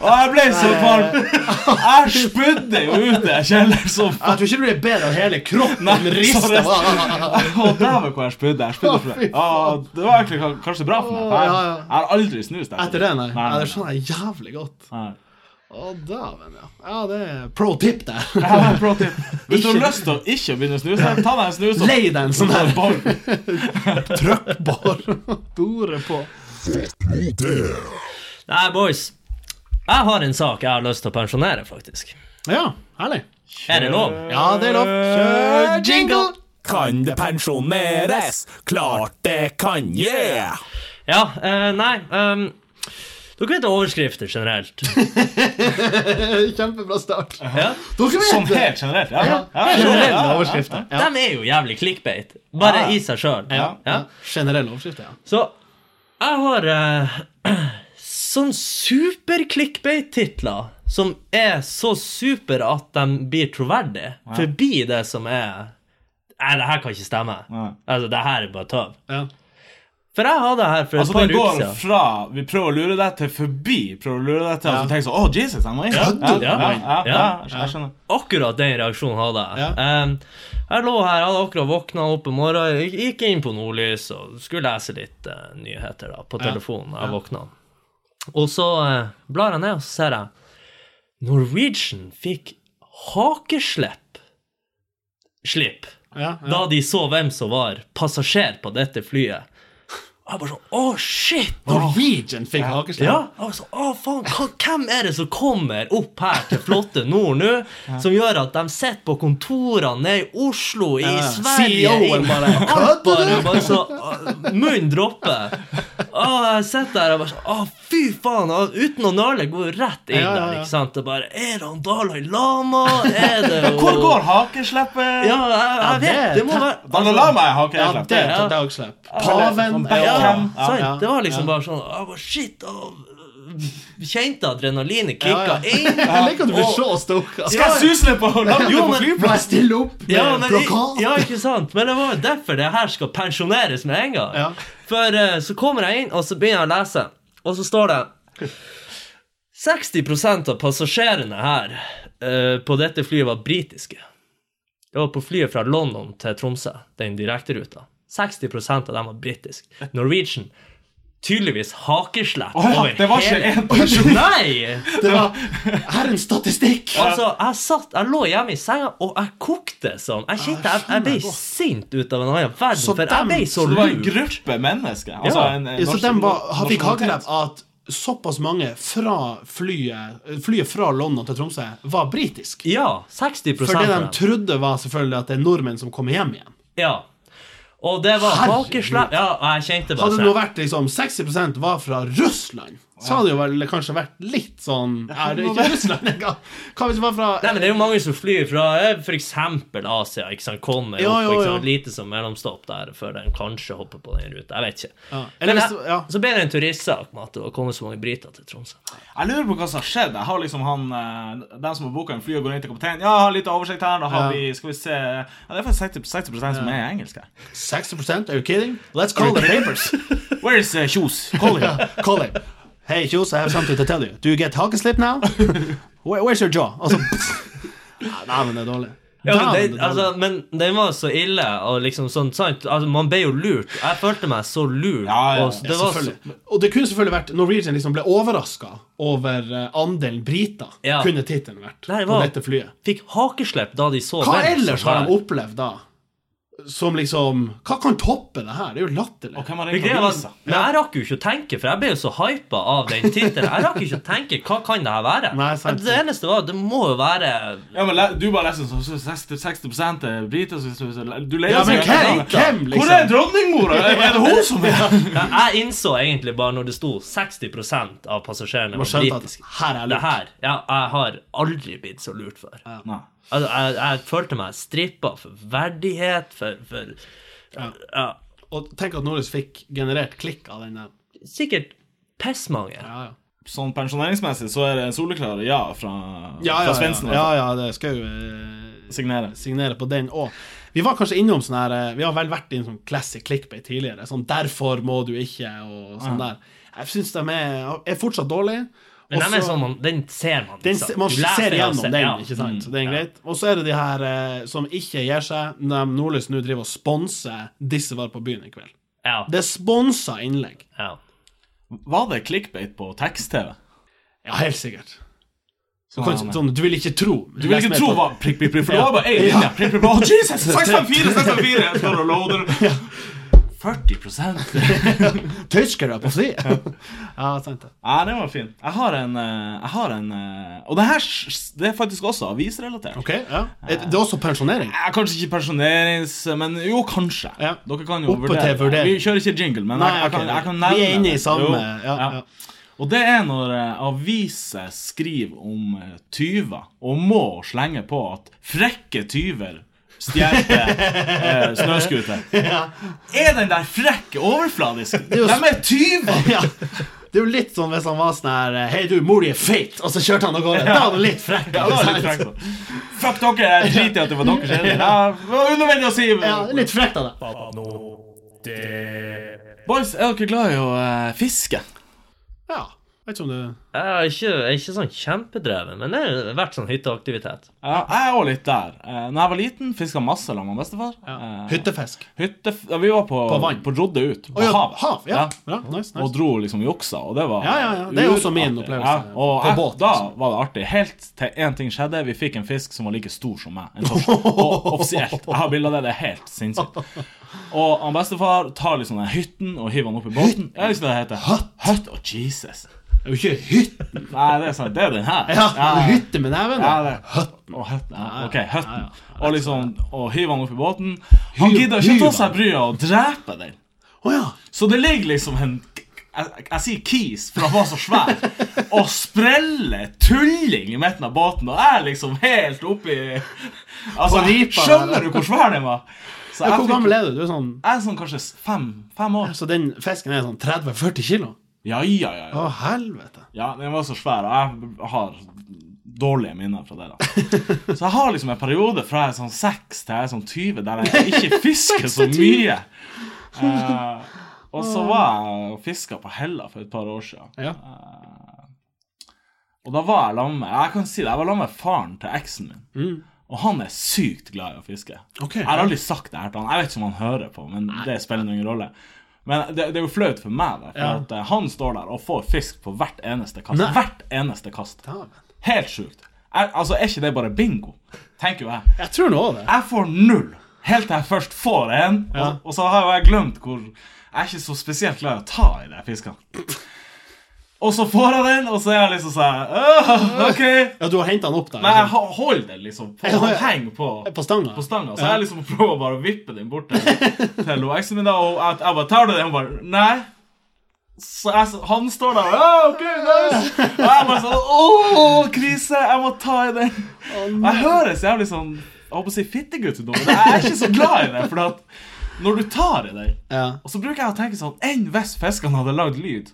[SPEAKER 2] Og jeg ble så kvalm. Jeg spydde jo ut i kjelleren som faen.
[SPEAKER 1] Jeg tror ikke du blir bedre av hele kroppen.
[SPEAKER 2] [LAUGHS] Nei,
[SPEAKER 1] Den rister.
[SPEAKER 2] Å, dæven hvor jeg spydde. Jeg spydde for det. Å, det var egentlig ka- kanskje bra for meg. For jeg,
[SPEAKER 1] Å, ja, ja.
[SPEAKER 2] jeg har aldri snust. jeg.
[SPEAKER 1] Etter det, nei.
[SPEAKER 2] Nei,
[SPEAKER 1] Ja, det skjønner jeg jævlig godt.
[SPEAKER 2] nei.
[SPEAKER 1] Å, dæven, ja. Ja, det er pro tip, det.
[SPEAKER 2] Jeg har en pro tip. Hvis du har lyst til å ikke begynne å snuse, ta deg en snus
[SPEAKER 1] [LAUGHS]
[SPEAKER 2] og [LAUGHS]
[SPEAKER 1] Lei deg en sånn
[SPEAKER 2] ta
[SPEAKER 1] her
[SPEAKER 2] en boll.
[SPEAKER 1] trøkkbar dore på.
[SPEAKER 6] Nei, boys. Jeg har en sak jeg har lyst til å pensjonere, faktisk.
[SPEAKER 1] Ja, herlig.
[SPEAKER 6] Er det lov?
[SPEAKER 1] Ja, det er lov. Kjør jingle!
[SPEAKER 5] Kan det pensjoneres? Klart det kan, yeah!
[SPEAKER 6] Ja. eh, nei ehm, Dere vet overskrifter generelt.
[SPEAKER 1] [LAUGHS] Kjempebra start.
[SPEAKER 6] Ja.
[SPEAKER 1] Dere vet
[SPEAKER 2] Sånn
[SPEAKER 1] det.
[SPEAKER 2] helt generelt. Ja, ja. ja, ja, ja,
[SPEAKER 1] Generelle
[SPEAKER 2] ja.
[SPEAKER 1] overskrifter. Ja.
[SPEAKER 6] De er jo jævlig clickbait,
[SPEAKER 2] Ja.
[SPEAKER 6] bare i seg sjøl.
[SPEAKER 1] Ja. Generelle overskrifter, ja.
[SPEAKER 6] Så jeg har eh, sånn super-clickbait-titler som er så super at de blir troverdige, forbi det som er Nei, det her kan ikke stemme.
[SPEAKER 2] Nei.
[SPEAKER 6] Altså, det her er bare tøv.
[SPEAKER 1] ja.
[SPEAKER 6] For jeg hadde det her for
[SPEAKER 2] Altså,
[SPEAKER 6] et
[SPEAKER 2] den
[SPEAKER 6] par uker
[SPEAKER 2] går
[SPEAKER 6] siden.
[SPEAKER 2] fra vi prøver å lure deg, til forbi prøver å lure deg til, og så tenker du sånn Å, Jesus, jeg må inn. Ja,
[SPEAKER 1] Kødder du,
[SPEAKER 2] ja,
[SPEAKER 6] mann?
[SPEAKER 2] ja, ja,
[SPEAKER 6] Ja.
[SPEAKER 2] jeg skjønner.
[SPEAKER 6] Akkurat den reaksjonen hadde jeg. Em, jeg lå her, hadde akkurat våkna opp om morgenen, gikk- gikk inn på Nordlys og skulle lese litt eh, nyheter da, på telefonen. Jeg våkna. Og så eh, blar jeg ned, og så ser jeg Norwegian fikk hakeslepp Slipp.
[SPEAKER 1] Ja, ja.
[SPEAKER 6] Da de så hvem som var passasjer på dette flyet. Og jeg bare sånn Å, shit!
[SPEAKER 1] Norwegian fikk hakeslepp.
[SPEAKER 6] Ja, altså, å faen, hva- hvem er det som kommer opp her til flotte nord nå, som gjør at de sitter på kontorene nede i Oslo, i
[SPEAKER 1] ja.
[SPEAKER 6] Sverige
[SPEAKER 1] CEO-en
[SPEAKER 6] i-
[SPEAKER 1] bare,
[SPEAKER 6] alt
[SPEAKER 1] «Kødder
[SPEAKER 6] bare, bare så, å, Munn dropper. Å, jeg sitter der og bare sånn Å, fy faen! Og uten å nøle går jeg rett inn
[SPEAKER 1] Ja, ja,
[SPEAKER 6] der,
[SPEAKER 1] ja.
[SPEAKER 6] ikke sant? Det bare Er det han Dalai Lama?
[SPEAKER 1] [LAUGHS]
[SPEAKER 6] Er det
[SPEAKER 2] Hvor går hakesleppet?
[SPEAKER 6] Ja, jeg, jeg
[SPEAKER 1] det
[SPEAKER 6] vet,
[SPEAKER 1] er
[SPEAKER 6] det må være altså,
[SPEAKER 2] Dalalama er
[SPEAKER 1] Ja,
[SPEAKER 2] hakeslepp.
[SPEAKER 1] det sånn er
[SPEAKER 6] Ja.
[SPEAKER 1] tatt dagslepp. Paven
[SPEAKER 2] Ja,
[SPEAKER 1] ja,
[SPEAKER 6] Ja,
[SPEAKER 2] Hvem?
[SPEAKER 6] sant?
[SPEAKER 1] ja,
[SPEAKER 6] det var liksom bare sånn jeg bare, Shit! Og, kjente adrenalinet kicka
[SPEAKER 1] Ja, ja.
[SPEAKER 6] inn.
[SPEAKER 1] Jeg liker at du blir så altså. stoka.
[SPEAKER 2] Skal jeg susle på landet
[SPEAKER 1] Jo,
[SPEAKER 2] på
[SPEAKER 1] men-
[SPEAKER 2] flyplassen?
[SPEAKER 1] Bare stille opp med
[SPEAKER 6] Ja, men,
[SPEAKER 1] plakat.
[SPEAKER 6] ja, ikke sant? Men det var jo derfor det her skal pensjoneres med en gang.
[SPEAKER 1] Ja.
[SPEAKER 6] For eh, så kommer jeg inn, og så begynner jeg å lese, og så står det 60 av passasjerene her eh, på dette flyet var britiske. Det var på flyet fra London til Tromsø, den direkteruta. 60 av dem var britiske. Norwegian tydeligvis hakeslepp
[SPEAKER 2] Å ja, det var ikke en person.
[SPEAKER 6] Nei!
[SPEAKER 1] Det var Her er en statistikk!
[SPEAKER 6] Altså, jeg satt, jeg lå hjemme i senga, og jeg kokte sånn.
[SPEAKER 1] Ah,
[SPEAKER 6] Jeg, kjente, jeg, jeg ble sint ut av en annen verden,
[SPEAKER 1] Så
[SPEAKER 6] for jeg ble
[SPEAKER 1] dem-
[SPEAKER 6] så
[SPEAKER 2] Det var en
[SPEAKER 6] lur.
[SPEAKER 2] gruppe mennesker. Altså
[SPEAKER 6] Ja.
[SPEAKER 2] en, en
[SPEAKER 1] Så
[SPEAKER 2] norsk-
[SPEAKER 1] de var, ha- fikk
[SPEAKER 2] nasjonalitet.
[SPEAKER 1] hakelepp at såpass mange fra flyet Flyet fra London til Tromsø var britisk.
[SPEAKER 6] Ja, 60
[SPEAKER 1] For det
[SPEAKER 6] av
[SPEAKER 1] de
[SPEAKER 6] dem.
[SPEAKER 1] trodde, var selvfølgelig at det er nordmenn som kommer hjem igjen.
[SPEAKER 6] Ja. Og det var
[SPEAKER 1] Herregud.
[SPEAKER 6] hakeslepp Ja, jeg kjente bare
[SPEAKER 1] Hadde det nå
[SPEAKER 6] sånn.
[SPEAKER 1] vært liksom 60 var fra Russland, så hadde det jo vel kanskje vært litt sånn Er det ikke Russland engang? Hva hvis det var
[SPEAKER 6] Nei,
[SPEAKER 1] fra
[SPEAKER 6] men Det er jo mange som flyr fra eh, for eksempel Asia. ikke sant, Kommer
[SPEAKER 1] Ja,
[SPEAKER 6] opp
[SPEAKER 1] ja,
[SPEAKER 6] og ikke
[SPEAKER 1] ja.
[SPEAKER 6] sant, lite som mellomstopp der før de kanskje hopper på den ruta. Jeg vet ikke.
[SPEAKER 1] ja.
[SPEAKER 6] Men
[SPEAKER 1] Eller hvis
[SPEAKER 6] jeg-
[SPEAKER 1] ja.
[SPEAKER 6] Så ble det en turistsak med at det var kommet så mange briter til Tromsø.
[SPEAKER 2] Jeg lurer på hva som har skjedd. Jeg har liksom han eh, Den som har booka en fly og går inn til kapteinen. Ja, jeg har litt oversikt her. Da har
[SPEAKER 1] Ja.
[SPEAKER 2] vi Skal vi se Ja, det er faktisk 60, 60 som er engelsk her.
[SPEAKER 1] 60 Are you kidding? Let's call the papers.
[SPEAKER 2] Where is eh, Kjos?
[SPEAKER 1] Call him.
[SPEAKER 6] [LAUGHS]
[SPEAKER 1] Call him. Hey, Kjos, I have something to tell you. Do you get hakeslip
[SPEAKER 6] [LAUGHS]
[SPEAKER 1] now? Where, where's your jaw? Altså, [LAUGHS] Nei, men det er dårlig.
[SPEAKER 6] Ja, men,
[SPEAKER 1] Damn,
[SPEAKER 6] det,
[SPEAKER 1] det er dårlig.
[SPEAKER 6] altså, men den var så ille, og liksom sånn, sant? Altså, man ble jo lurt. Jeg følte meg så lurt.
[SPEAKER 2] Ja, ja,
[SPEAKER 6] og så-
[SPEAKER 2] ja,
[SPEAKER 6] det var så,
[SPEAKER 1] Selvfølgelig. Og det kunne selvfølgelig vært Norwegian liksom ble overraska over eh, andelen briter.
[SPEAKER 6] Ja.
[SPEAKER 1] Kunne tittelen vært
[SPEAKER 6] Nei, det
[SPEAKER 1] på
[SPEAKER 6] var-
[SPEAKER 1] dette flyet.
[SPEAKER 6] fikk hakeslepp da de så
[SPEAKER 1] Hva
[SPEAKER 6] hvem som
[SPEAKER 1] ellers har
[SPEAKER 6] var-
[SPEAKER 1] de opplevd da? Som liksom Hva kan toppe det her? Det er jo latterlig.
[SPEAKER 2] Og hvem har
[SPEAKER 6] Men
[SPEAKER 2] ringt
[SPEAKER 6] greia var-
[SPEAKER 2] avisa?
[SPEAKER 6] Men jeg rakk jo ikke å tenke, for jeg ble jo så hypa av den tittelen. Jeg rakk jo ikke å tenke hva kan det her være.
[SPEAKER 1] Nei, sant.
[SPEAKER 6] det eneste var det må jo være
[SPEAKER 2] Ja, men le- du bare leser sånn så 60, 60 er briter så- så- så- Du leier
[SPEAKER 1] Ja, men hvem, hvem
[SPEAKER 2] Hvor er
[SPEAKER 1] liksom?
[SPEAKER 2] dronningmora? Er er
[SPEAKER 1] [LAUGHS]
[SPEAKER 2] det hun som er
[SPEAKER 6] Jeg jeg innså egentlig bare når det sto 60 av passasjerene var
[SPEAKER 1] Man skjønte at
[SPEAKER 6] britiske.
[SPEAKER 1] her er
[SPEAKER 6] Det
[SPEAKER 1] lurt.
[SPEAKER 6] her ja, jeg har aldri blitt så lurt før.
[SPEAKER 2] Nei.
[SPEAKER 6] Altså, jeg, jeg følte meg strippa for verdighet, for, for ja.
[SPEAKER 1] Og tenk at Norris fikk generert klikk av den der.
[SPEAKER 6] Sikkert pissmange.
[SPEAKER 1] Ja, ja.
[SPEAKER 2] sånn pensjoneringsmessig så er det en soleklar ja fra,
[SPEAKER 1] Ja, ja, ja.
[SPEAKER 2] fra Svendsen. i hvert
[SPEAKER 1] ja,
[SPEAKER 2] fall.
[SPEAKER 1] ja det skal jo eh,
[SPEAKER 2] Signere.
[SPEAKER 1] signere på den òg. Vi var kanskje innom sånn her eh, Vi har vel vært i en sånn classic clickbait tidligere. Sånn 'derfor må du ikke' og sånn der. Jeg syns de er, er fortsatt dårlige.
[SPEAKER 6] Men
[SPEAKER 1] Også-
[SPEAKER 6] den, er sånn, man, den ser man.
[SPEAKER 1] den,
[SPEAKER 6] liksom.
[SPEAKER 1] se- man
[SPEAKER 6] Du leser
[SPEAKER 1] ser
[SPEAKER 6] den,
[SPEAKER 1] gjennom
[SPEAKER 6] ser-
[SPEAKER 1] den,
[SPEAKER 6] ja.
[SPEAKER 1] ikke sant? Så
[SPEAKER 6] Mm,
[SPEAKER 1] det er
[SPEAKER 6] ja.
[SPEAKER 1] greit. Og så er det de her eh, som ikke gir seg. De Nordlys nå driver og sponser Disse var på byen i kveld.
[SPEAKER 6] Ja,
[SPEAKER 1] Det er sponsa innlegg.
[SPEAKER 6] ja.
[SPEAKER 2] Var det clickbait på tekst-TV?
[SPEAKER 1] Ja, helt sikkert. Du,
[SPEAKER 2] Sånn
[SPEAKER 1] kan,
[SPEAKER 2] er det.
[SPEAKER 1] sånn, du vil ikke tro.
[SPEAKER 2] Du vil ikke tro hva prikk, prikk, prikk, for det var bare én [LAUGHS]
[SPEAKER 1] Ja.
[SPEAKER 2] linje. Prikk, prikk, prikk. Å, Jesus!
[SPEAKER 1] [LAUGHS]
[SPEAKER 2] 654, 654! Jeg står og loader. 40
[SPEAKER 1] Tyskere på si! [LAUGHS] ja, sant det.
[SPEAKER 2] Ja, den var fin. Jeg har en, eh, jeg har en eh, Og det her s- det er faktisk også avisrelatert.
[SPEAKER 1] Ok, ja. Det er også
[SPEAKER 2] [LAUGHS]
[SPEAKER 1] pensjonering.
[SPEAKER 2] Eh, Kanskje ikke pensjonerings... Men jo, kanskje.
[SPEAKER 1] Ja.
[SPEAKER 2] Dere kan jo
[SPEAKER 1] Oppe til vurdering.
[SPEAKER 2] Vi kjører ikke jingle, men
[SPEAKER 1] Nei,
[SPEAKER 2] jeg, jeg,
[SPEAKER 1] ok,
[SPEAKER 2] kan, jeg kan
[SPEAKER 1] vi
[SPEAKER 2] nevne
[SPEAKER 1] er inne i
[SPEAKER 2] det.
[SPEAKER 1] samme
[SPEAKER 2] Jo,
[SPEAKER 1] ja,
[SPEAKER 2] ja.
[SPEAKER 1] ja.
[SPEAKER 2] Og det er når eh, aviser skriver om eh, tyver, og må slenge på at frekke tyver stjeler
[SPEAKER 1] [LAUGHS]
[SPEAKER 2] eh, snøscooter. Er den der frekke overfladisk?
[SPEAKER 1] er jo
[SPEAKER 2] De er
[SPEAKER 1] [LAUGHS]
[SPEAKER 2] tyver!
[SPEAKER 1] Ja. Det er jo litt sånn hvis han var sånn her Hei, du, mor di er feit! Og så kjørte han av gårde. Da var du litt frekk.
[SPEAKER 2] Ja, det var litt frekt, da. Fuck dere, jeg driter i at det var deres skyld. Ja, det var unødvendig å si.
[SPEAKER 1] Ja, litt frekt av deg.
[SPEAKER 2] Boys, er dere glad i å eh, fiske?
[SPEAKER 1] Ja. Vet ikke om du
[SPEAKER 6] Jeg er ikke, jeg er ikke sånn kjempedreven, men det har vært sånn hytteaktivitet.
[SPEAKER 2] Ja, jeg er òg litt der. Eh, Når jeg var liten, fiska masse sammen med bestefar. Eh,
[SPEAKER 1] Hyttefisk.
[SPEAKER 2] Hytte... Ja, vi var på,
[SPEAKER 1] På vann.
[SPEAKER 2] på Rodde ut. På
[SPEAKER 1] Å ja,
[SPEAKER 2] hav.
[SPEAKER 1] hav, ja. Bra, nice, nice.
[SPEAKER 2] Og dro liksom juksa, og det var
[SPEAKER 1] Ja, ja, ja. Det er også min
[SPEAKER 2] urartig.
[SPEAKER 1] opplevelse.
[SPEAKER 2] Ja, og
[SPEAKER 1] På
[SPEAKER 2] jeg,
[SPEAKER 1] båt,
[SPEAKER 2] Da
[SPEAKER 1] altså.
[SPEAKER 2] var det artig. Helt til én ting skjedde. Vi fikk en fisk som var like stor som
[SPEAKER 1] [LAUGHS]
[SPEAKER 2] meg. En torsk. og offisielt. Jeg har bilde av det. Det er helt sinnssykt. Og han bestefar tar liksom den hytten og hiver den opp i båten. Jeg husker det heter. Høtt. Høtt. Å, Jesus.
[SPEAKER 1] Det er jo ikke hytten.
[SPEAKER 2] [LAUGHS] Nei, det er sant. Det er den her.
[SPEAKER 1] Ja, Hytte med neven.
[SPEAKER 2] Ja,
[SPEAKER 1] da.
[SPEAKER 2] det. Høtten. Og høtten. Ja, ok, høtten.
[SPEAKER 1] ja,
[SPEAKER 2] Og liksom, og hiver han opp i båten. Han gidder ikke
[SPEAKER 1] hyver
[SPEAKER 2] ta seg bryet og drepe den.
[SPEAKER 1] Å ja.
[SPEAKER 2] Så det ligger liksom en jeg, jeg sier kis, for han var så svær. Og spreller tulling i midten av båten, og jeg liksom helt oppi Altså,
[SPEAKER 1] Og ripa der.
[SPEAKER 2] skjønner du hvor svær den var? Så
[SPEAKER 1] Ja,
[SPEAKER 2] jeg,
[SPEAKER 1] Hvor
[SPEAKER 2] fikk-
[SPEAKER 1] gammel er du? Du er sånn
[SPEAKER 2] jeg er sånn kanskje fem, fem år.
[SPEAKER 1] Så den fisken er sånn 30-40 kilo?
[SPEAKER 2] Ja, ja, ja. ja.
[SPEAKER 1] Å, helvete.
[SPEAKER 2] Ja, den var så svær, og jeg har dårlige minner fra det.
[SPEAKER 1] [LAUGHS]
[SPEAKER 2] da Så jeg har liksom en periode fra jeg er sånn 6 til jeg er sånn 20 der
[SPEAKER 1] [LAUGHS]
[SPEAKER 2] jeg ikke fisker så mye. Eh, og så var jeg og fiska på Hella for et par år siden.
[SPEAKER 1] Ja.
[SPEAKER 2] Og da var jeg sammen med Jeg kan si det, jeg var sammen med faren til eksen min. Og han er sykt glad i å fiske.
[SPEAKER 1] Mm. Ok.
[SPEAKER 2] Jeg har aldri sagt det her til han. Jeg vet ikke om han hører på, men det spiller ingen rolle. Men det, det er jo flaut for meg, da, for
[SPEAKER 1] Ja.
[SPEAKER 2] at eh, han står der og får fisk på hvert eneste kast.
[SPEAKER 1] Nei.
[SPEAKER 2] Hvert eneste kast.
[SPEAKER 1] Dæven.
[SPEAKER 2] Helt sjukt. Er, altså, er ikke det bare bingo? Tenker jo jeg.
[SPEAKER 1] Jeg tror nå det.
[SPEAKER 2] Jeg får null helt til jeg først får en,
[SPEAKER 1] Ja.
[SPEAKER 2] og, og så har jo jeg glemt hvor Jeg er ikke så spesielt glad i å ta i de fiskene. Og så får jeg den, og så er jeg liksom sånn «Åh, OK.
[SPEAKER 1] Ja, du har henta den opp der?
[SPEAKER 2] Men jeg
[SPEAKER 1] liksom.
[SPEAKER 2] ho- holder den liksom. på-
[SPEAKER 1] Ja, ja.
[SPEAKER 2] Heng på.
[SPEAKER 1] På stanga?
[SPEAKER 2] På stanga. Så jeg liksom prøver bare å vippe den bort til til hun eksen min, da, og jeg, jeg bare tar det, og hun bare Nei. Så jeg, så- han står der og «Å, OK, nice. Og jeg bare sånn Å, krise! Jeg må ta i den. Og jeg høres jævlig sånn Jeg holdt på å si fittegutt ut nå, men jeg er ikke så glad i det. For at når du tar i den
[SPEAKER 1] Ja.
[SPEAKER 2] Og så bruker jeg å tenke sånn Enn hvis fiskene hadde lagd lyd?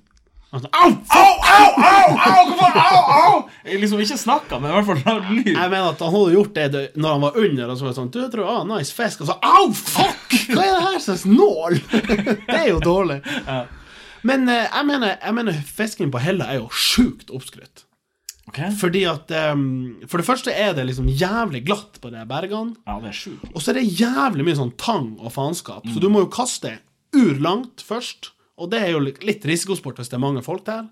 [SPEAKER 1] Og så- Au!
[SPEAKER 2] Au, au, au! au, hvorfor, au, au! Jeg liksom ikke snakka, men i hvert fall lagd lyd.
[SPEAKER 1] Jeg mener at han hadde gjort det du- når han var under, og så var det sånn Du, jeg tror, ah, nice fisk, og så Au, fuck! Hva er det her slags nål? [LAUGHS] det er jo dårlig. Men eh, jeg mener, jeg mener fisken på Hella er jo sjukt oppskrytt.
[SPEAKER 2] Ok?
[SPEAKER 1] Fordi at eh, For det første er det liksom jævlig glatt på de bergene.
[SPEAKER 2] Ja, det er sjukt.
[SPEAKER 1] Og så er det jævlig mye sånn tang og faenskap, så du må jo kaste urlangt først. Og det er jo litt litt risikosport hvis det er mange folk der.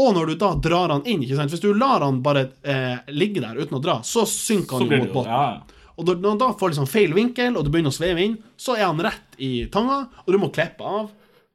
[SPEAKER 1] Og når du da drar han inn, ikke sant? hvis du lar han bare eh, ligge der uten å dra, så synker
[SPEAKER 2] Så
[SPEAKER 1] han jo
[SPEAKER 2] blir det
[SPEAKER 1] mot
[SPEAKER 2] jo
[SPEAKER 1] båten.
[SPEAKER 2] ja, ja.
[SPEAKER 1] Og når han da får liksom feil vinkel, og du begynner å sveve inn, så er han rett i tanga, og du må klippe av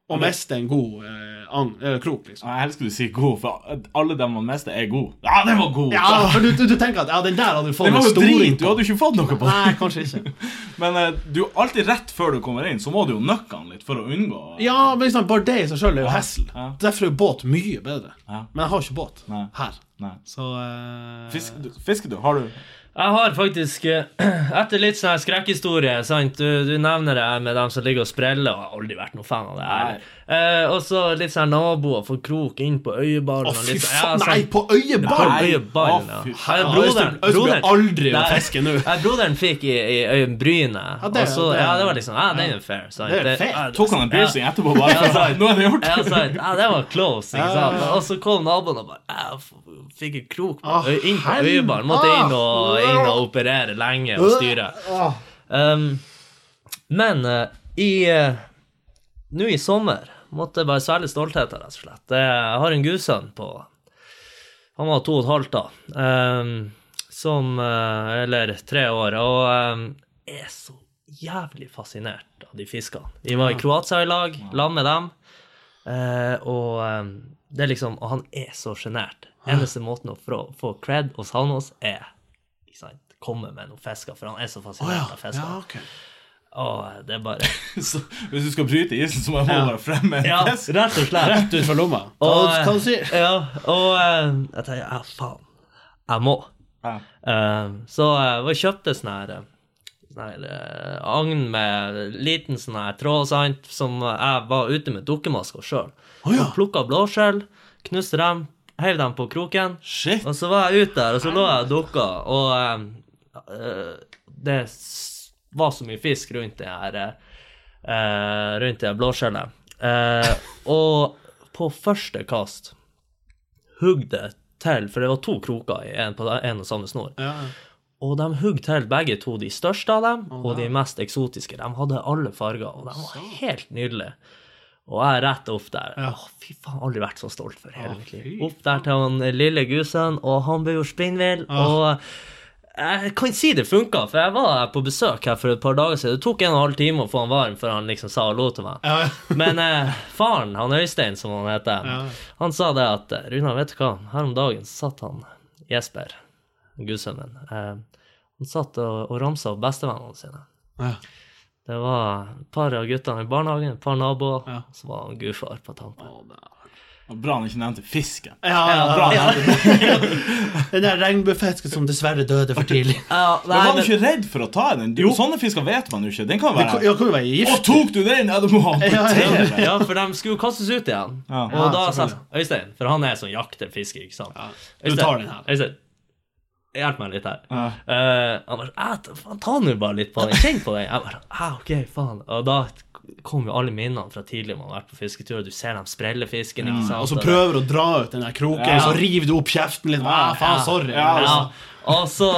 [SPEAKER 1] og miste en god eh, ang, eh, krok, liksom.
[SPEAKER 2] Ja, Jeg elsker du sier god, for alle dem man mest er god. Ja, den var god!
[SPEAKER 1] Ja, for du, du, du tenker at ja, den der hadde du fått
[SPEAKER 2] den
[SPEAKER 1] en
[SPEAKER 2] var jo
[SPEAKER 1] storing
[SPEAKER 2] drit, du
[SPEAKER 1] på.
[SPEAKER 2] hadde jo ikke fått noe på den.
[SPEAKER 1] Nei, kanskje ikke.
[SPEAKER 2] [LAUGHS] Men eh, du alltid rett før du kommer inn, så må du jo nøkke han litt for å unngå
[SPEAKER 1] Ja, men liksom, bare det i seg sjøl er jo hessel.
[SPEAKER 2] Ja.
[SPEAKER 1] Derfor er jo båt mye bedre.
[SPEAKER 2] Ja.
[SPEAKER 1] Men jeg har ikke båt
[SPEAKER 2] Nei.
[SPEAKER 1] her.
[SPEAKER 2] Nei.
[SPEAKER 1] Så eh,
[SPEAKER 2] Fisk, du, fisker du? Har du?
[SPEAKER 6] Jeg har faktisk eh, [CLEARS THROAT] Etter litt sånn her skrekkhistorie sant? Du, du nevner det her med dem som ligger og spreller, og jeg har aldri vært noen fan av det her. Eh, og så litt sånn naboer får krok inn på øyeballen.
[SPEAKER 1] Å,
[SPEAKER 6] og
[SPEAKER 1] fy
[SPEAKER 6] litt sånn-
[SPEAKER 1] faen!
[SPEAKER 6] ja,
[SPEAKER 1] Nei,
[SPEAKER 6] sånn-
[SPEAKER 1] på øyeball!
[SPEAKER 2] Nei.
[SPEAKER 6] Øyeballen,
[SPEAKER 2] Å,
[SPEAKER 6] ja.
[SPEAKER 2] fy
[SPEAKER 6] Her er Broderen
[SPEAKER 1] Øystein- Øystein blir
[SPEAKER 6] broderen-
[SPEAKER 1] aldri å
[SPEAKER 6] Nei.
[SPEAKER 1] fiske nå.
[SPEAKER 6] Nei, Broderen fikk i, i øyenbrynet.
[SPEAKER 1] Ja,
[SPEAKER 6] Ja,
[SPEAKER 1] det-
[SPEAKER 6] det, så,
[SPEAKER 1] det-
[SPEAKER 6] ja, det var liksom Ja, den er fair. sant?
[SPEAKER 1] Det er fair.
[SPEAKER 6] ja,
[SPEAKER 2] Tok han en piercing etterpå? bare
[SPEAKER 6] Ja, sant.
[SPEAKER 2] Nå er det gjort!
[SPEAKER 6] Ja, sant. ja, det var close, ikke sant? Og så kom naboen og bare "Ja, f- Fikk en krok på,
[SPEAKER 1] Ah,
[SPEAKER 6] øy- inn på
[SPEAKER 1] helvete.
[SPEAKER 6] øyeballen. Måtte inn og, inn og operere lenge og styre. Um, men eh, i eh, Nå i sommer måtte jeg bare svelge stoltheten, rett og slett. Det- Jeg har en gudsønn på Han var to og et halvt da. Um, som eh, Eller tre år. Og um, er så jævlig fascinert av de fiskene. Vi var i Kroatia i lag, sammen med dem. Eh, og eh, det er liksom Og han er så sjenert. Eneste måten å få, få cred hos han hos, er ikke sant, komme med noen fisker, for han er så fascinert av fisker.
[SPEAKER 1] Ja, ok.
[SPEAKER 6] Åh, det er bare
[SPEAKER 2] [LAUGHS] Så, hvis du skal bryte isen, så må jeg bare fremme en
[SPEAKER 6] Ja,
[SPEAKER 2] fisk.
[SPEAKER 6] rett og slett.
[SPEAKER 1] Rett ut fra lomma.
[SPEAKER 2] eh,
[SPEAKER 6] Og, eh,
[SPEAKER 1] Hva- hva du sier?
[SPEAKER 6] Ja, og eh, jeg tenkte ja, faen, jeg må.
[SPEAKER 2] Ja.
[SPEAKER 6] Eh, så jeg var og kjøpte sånn her eh, sånn her eh, agn med liten sånn her tråd, sant, som jeg var ute med dukkemasker sjøl.
[SPEAKER 1] Å ja.
[SPEAKER 6] Plukka blåskjell, knuste dem, heiv dem på kroken.
[SPEAKER 2] Shit!
[SPEAKER 6] Og så var jeg ute der, og så lå jeg og dukka, og eh, eh, det s- var så mye fisk rundt det her eh, Rundt det her blåskjellet. Eh, og på første kast hugg det til, for det var to kroker i en, på en og samme snor.
[SPEAKER 1] Ja.
[SPEAKER 6] Og de hugg til begge to, de største av dem, og de mest eksotiske. De hadde alle farger, og de var helt nydelige. Og jeg er rett opp der. Åh, fy faen, aldri vært så stolt for hele mitt liv. Opp der til han lille gusen, og han ble jo spinnvill. Og jeg kan si det funka, for jeg var på besøk her for et par dager siden. Det tok en og en halv time å få han varm før han liksom sa hallo til meg.
[SPEAKER 1] Ja.
[SPEAKER 6] Men eh, faren, han Øystein, som han heter, han sa det at eh, Runar, vet du hva, her om dagen så satt han Jesper, gudsønnen, eh, han satt og, og ramsa opp bestevennene sine.
[SPEAKER 1] Ja.
[SPEAKER 6] Det var et par av guttene i barnehagen, et par naboer, så var han gudfar på tampen.
[SPEAKER 2] Og Bra han ikke nevnte fisken.
[SPEAKER 1] Ja, ja,
[SPEAKER 2] Bra han
[SPEAKER 1] ja.
[SPEAKER 2] nevnte fisken.
[SPEAKER 1] Den der regnbuefisken som dessverre døde for tidlig.
[SPEAKER 6] Ja,
[SPEAKER 2] Men
[SPEAKER 6] nei,
[SPEAKER 2] var du
[SPEAKER 6] men-
[SPEAKER 2] ikke redd for å ta i den? Du, sånne fisker vet man jo ikke. Den kan
[SPEAKER 1] Det kan, ja,
[SPEAKER 2] være
[SPEAKER 1] kan jo være
[SPEAKER 2] Å,
[SPEAKER 1] gift.
[SPEAKER 2] tok du den? Ja, du må ha den.
[SPEAKER 1] Ja, ja.
[SPEAKER 6] ja, for de skulle jo kastes ut igjen.
[SPEAKER 2] Ja.
[SPEAKER 6] Og
[SPEAKER 1] Ja,
[SPEAKER 6] da sa
[SPEAKER 1] selvfølgelig.
[SPEAKER 6] Øystein, for han er sånn jakter fisker, ikke sant.
[SPEAKER 1] Du
[SPEAKER 6] Øystein,
[SPEAKER 1] tar den her.
[SPEAKER 6] Øystein, hjelp meg litt her.
[SPEAKER 2] Ja.
[SPEAKER 6] Eh, han bare "Æ, ta- faen, Ta nå bare litt på den, kjenn på den. Jeg bare "Æ, OK, faen. Og da kom jo alle minnene fra tidligere man har vært på fisketur, og du ser dem sprelle fisken, ikke sant.
[SPEAKER 1] Og så prøver du å dra ut den der kroken, og så river du opp kjeften litt. Ah, faen, sorry.
[SPEAKER 2] Ja,
[SPEAKER 6] ja.
[SPEAKER 1] Ja.
[SPEAKER 6] Og
[SPEAKER 1] [LAUGHS]
[SPEAKER 6] så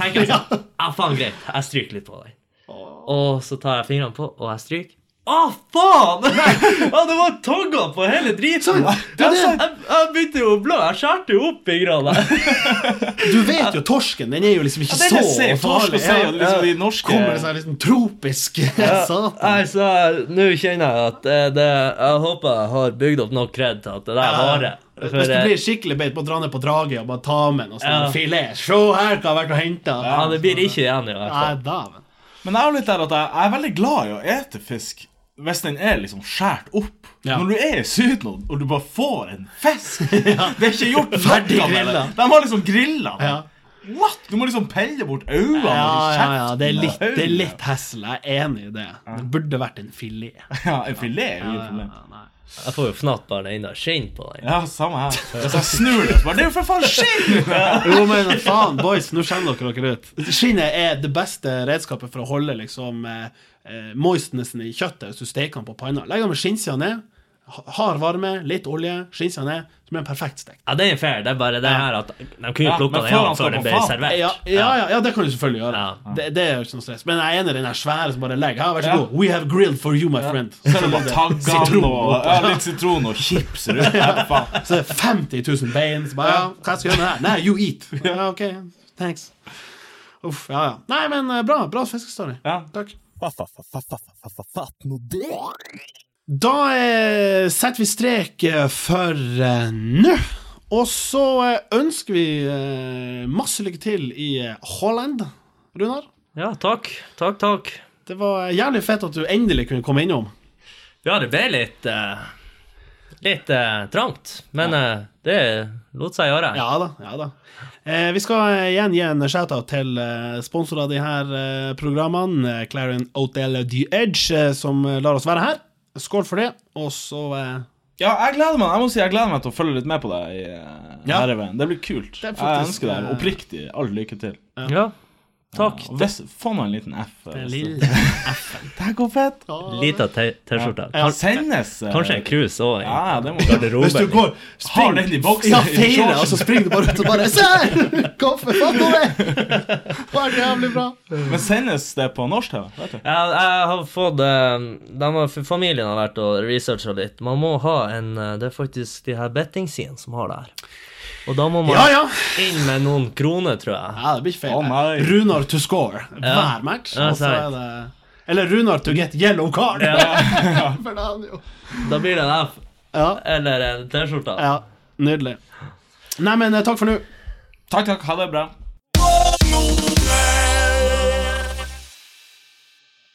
[SPEAKER 6] tenker jeg sånn Ja, faen, greit. Jeg stryker litt på den. Og så tar jeg fingrene på, og jeg stryker. Å, faen! [LAUGHS] Ja, det var togga på hele driten!
[SPEAKER 1] det er
[SPEAKER 6] Jeg, jeg, jeg begynte jo å blø. Jeg skjærte jo opp fingrene.
[SPEAKER 1] Du vet jo torsken, den er jo liksom ikke
[SPEAKER 2] Ja, den
[SPEAKER 1] så
[SPEAKER 2] er safe, torsk og sei, og det er liksom de norske-
[SPEAKER 1] Kommer det sånn liksom tropisk [LAUGHS] satan?
[SPEAKER 6] Nei, så nå kjenner jeg at eh, det, jeg håper jeg har bygd opp nok kred til at det der varer. For,
[SPEAKER 1] Hvis du
[SPEAKER 6] eh,
[SPEAKER 1] blir skikkelig beit på å dra ned på draget og bare ta med noe sånn
[SPEAKER 6] Ja.
[SPEAKER 1] filet Se her hva jeg har vært og henta.
[SPEAKER 6] ja, det blir ikke igjen i hvert
[SPEAKER 1] Nei,
[SPEAKER 6] fall.
[SPEAKER 1] dæven.
[SPEAKER 2] Men jeg er jo litt der at jeg, jeg er veldig glad i å ete fisk hvis den er liksom skåret opp.
[SPEAKER 1] Ja.
[SPEAKER 2] Når du er i Syden og- og du bare får en
[SPEAKER 1] [LAUGHS]
[SPEAKER 2] fisk Det er ikke gjort
[SPEAKER 1] Ferdig
[SPEAKER 2] noe med
[SPEAKER 1] grillet.
[SPEAKER 2] det. De har liksom grilla den.
[SPEAKER 1] Ja.
[SPEAKER 2] What? Du må liksom pelle bort øynene
[SPEAKER 1] Ja,
[SPEAKER 2] og
[SPEAKER 1] ja, ja,
[SPEAKER 2] kjeften
[SPEAKER 1] det er
[SPEAKER 2] og
[SPEAKER 1] litt, det er
[SPEAKER 2] øynene.
[SPEAKER 1] litt hessel. Jeg er enig i det. Det burde vært en filet.
[SPEAKER 2] Ja, En filet er jo ingen problem.
[SPEAKER 1] Ja, nei.
[SPEAKER 6] Jeg får jo fnatt bare det ene skinnet på den.
[SPEAKER 2] Ja, samme
[SPEAKER 1] [LAUGHS]
[SPEAKER 2] her. Hvis jeg snur det, så bare Det er jo for faen skinn!
[SPEAKER 1] Jo, men faen, boys, nå skjemmer dere dere ut. Skinnet er det beste redskapet for å holde liksom eh, eh, moistnessen i kjøttet hvis du steker den på panna. Legg den med skinnsida ned. ha- Hard varme, litt olje, skinnsida ned, så blir den perfekt stekt.
[SPEAKER 6] Ja, det er fair. Det er bare det her at de kunne
[SPEAKER 2] Ja,
[SPEAKER 6] jo
[SPEAKER 2] men
[SPEAKER 6] plukka den
[SPEAKER 2] faen,
[SPEAKER 6] av før den ble
[SPEAKER 2] faen.
[SPEAKER 6] servert.
[SPEAKER 1] Ja, ja, ja, ja, det kan du selvfølgelig gjøre.
[SPEAKER 6] Ja.
[SPEAKER 1] Det, det er jo ikke noe stress. Men jeg er enig i den her svære som bare legger. Ja, vær så
[SPEAKER 2] Ja.
[SPEAKER 1] god. We have grilled for you, my friend.
[SPEAKER 2] Så er det bare taggene
[SPEAKER 1] Sitron.
[SPEAKER 2] og ja, litt sitron og chips rundt. Ja, faen.
[SPEAKER 1] Så det er 50 000 bein. Så bare, ja, hva skal jeg gjøre med det her? Nei, you eat. Ja, ok, thanks. Uff, ja, ja. Nei, men eh, bra. Bra fiskestory.
[SPEAKER 2] Ja.
[SPEAKER 1] Takk.
[SPEAKER 5] Fatt nå det!
[SPEAKER 1] Da eh, setter vi strek eh, for eh, nå. Og så eh, ønsker vi eh, masse lykke til i eh, Holland, Runar. eh,
[SPEAKER 6] Ja, takk. Takk, takk.
[SPEAKER 1] Det var jævlig fett at du endelig kunne komme innom.
[SPEAKER 6] Ja, det ble litt eh, Litt eh, trangt, men eh, det lot seg gjøre.
[SPEAKER 1] Ja da. ja da eh, Vi skal eh, igjen gi en shout-out til eh, sponsorer av de her eh, programmene. eh, Clarion Hotel The Edge, eh, som eh, lar oss være her. Skål for det. Og så eh,
[SPEAKER 2] Ja, jeg gleder meg Jeg må si jeg gleder meg til å følge litt med på deg. i eh,
[SPEAKER 1] Ja.
[SPEAKER 2] herreveien. Det blir kult.
[SPEAKER 1] er faktisk,
[SPEAKER 2] jeg ønsker deg
[SPEAKER 1] eh,
[SPEAKER 2] oppriktig all lykke til.
[SPEAKER 6] Ja. Takk.
[SPEAKER 2] Og hvis, få nå en liten F. eh, hvis du- [LAUGHS] Tenk hvor fett!
[SPEAKER 6] Lita te- T-skjorte.
[SPEAKER 2] Ja, sendes eh,
[SPEAKER 6] Kanskje en krus òg.
[SPEAKER 2] Ja, det må du
[SPEAKER 1] Hvis du går,
[SPEAKER 2] Har den i boksen.
[SPEAKER 1] Ja, feire, og så springer du bare ut og bare Se! Kaffe, fatt over! Var det jævlig bra?
[SPEAKER 2] Men sendes det på norsk TV? Vet du?
[SPEAKER 6] Ja, jeg har fått eh, de har, Familien har vært og researcha litt. Man må ha en eh, Det er faktisk de her bettingsidene som har det her. Og da må man
[SPEAKER 1] Ja, ja.
[SPEAKER 6] inn med noen kroner, tror jeg.
[SPEAKER 1] Ja, det blir ikke feil.
[SPEAKER 2] Å, nei.
[SPEAKER 1] Runar to score
[SPEAKER 6] Ja.
[SPEAKER 1] hver match.
[SPEAKER 6] Ja,
[SPEAKER 1] og så er
[SPEAKER 6] sant.
[SPEAKER 1] det Eller Runar to get yellow card.
[SPEAKER 6] Ja,
[SPEAKER 1] [LAUGHS] For det er han jo.
[SPEAKER 6] da blir det en F
[SPEAKER 1] Ja,
[SPEAKER 6] eller en T-skjorte.
[SPEAKER 1] ja. Nydelig. Nei, men eh, takk for nå.
[SPEAKER 2] Takk, takk. Ha det bra.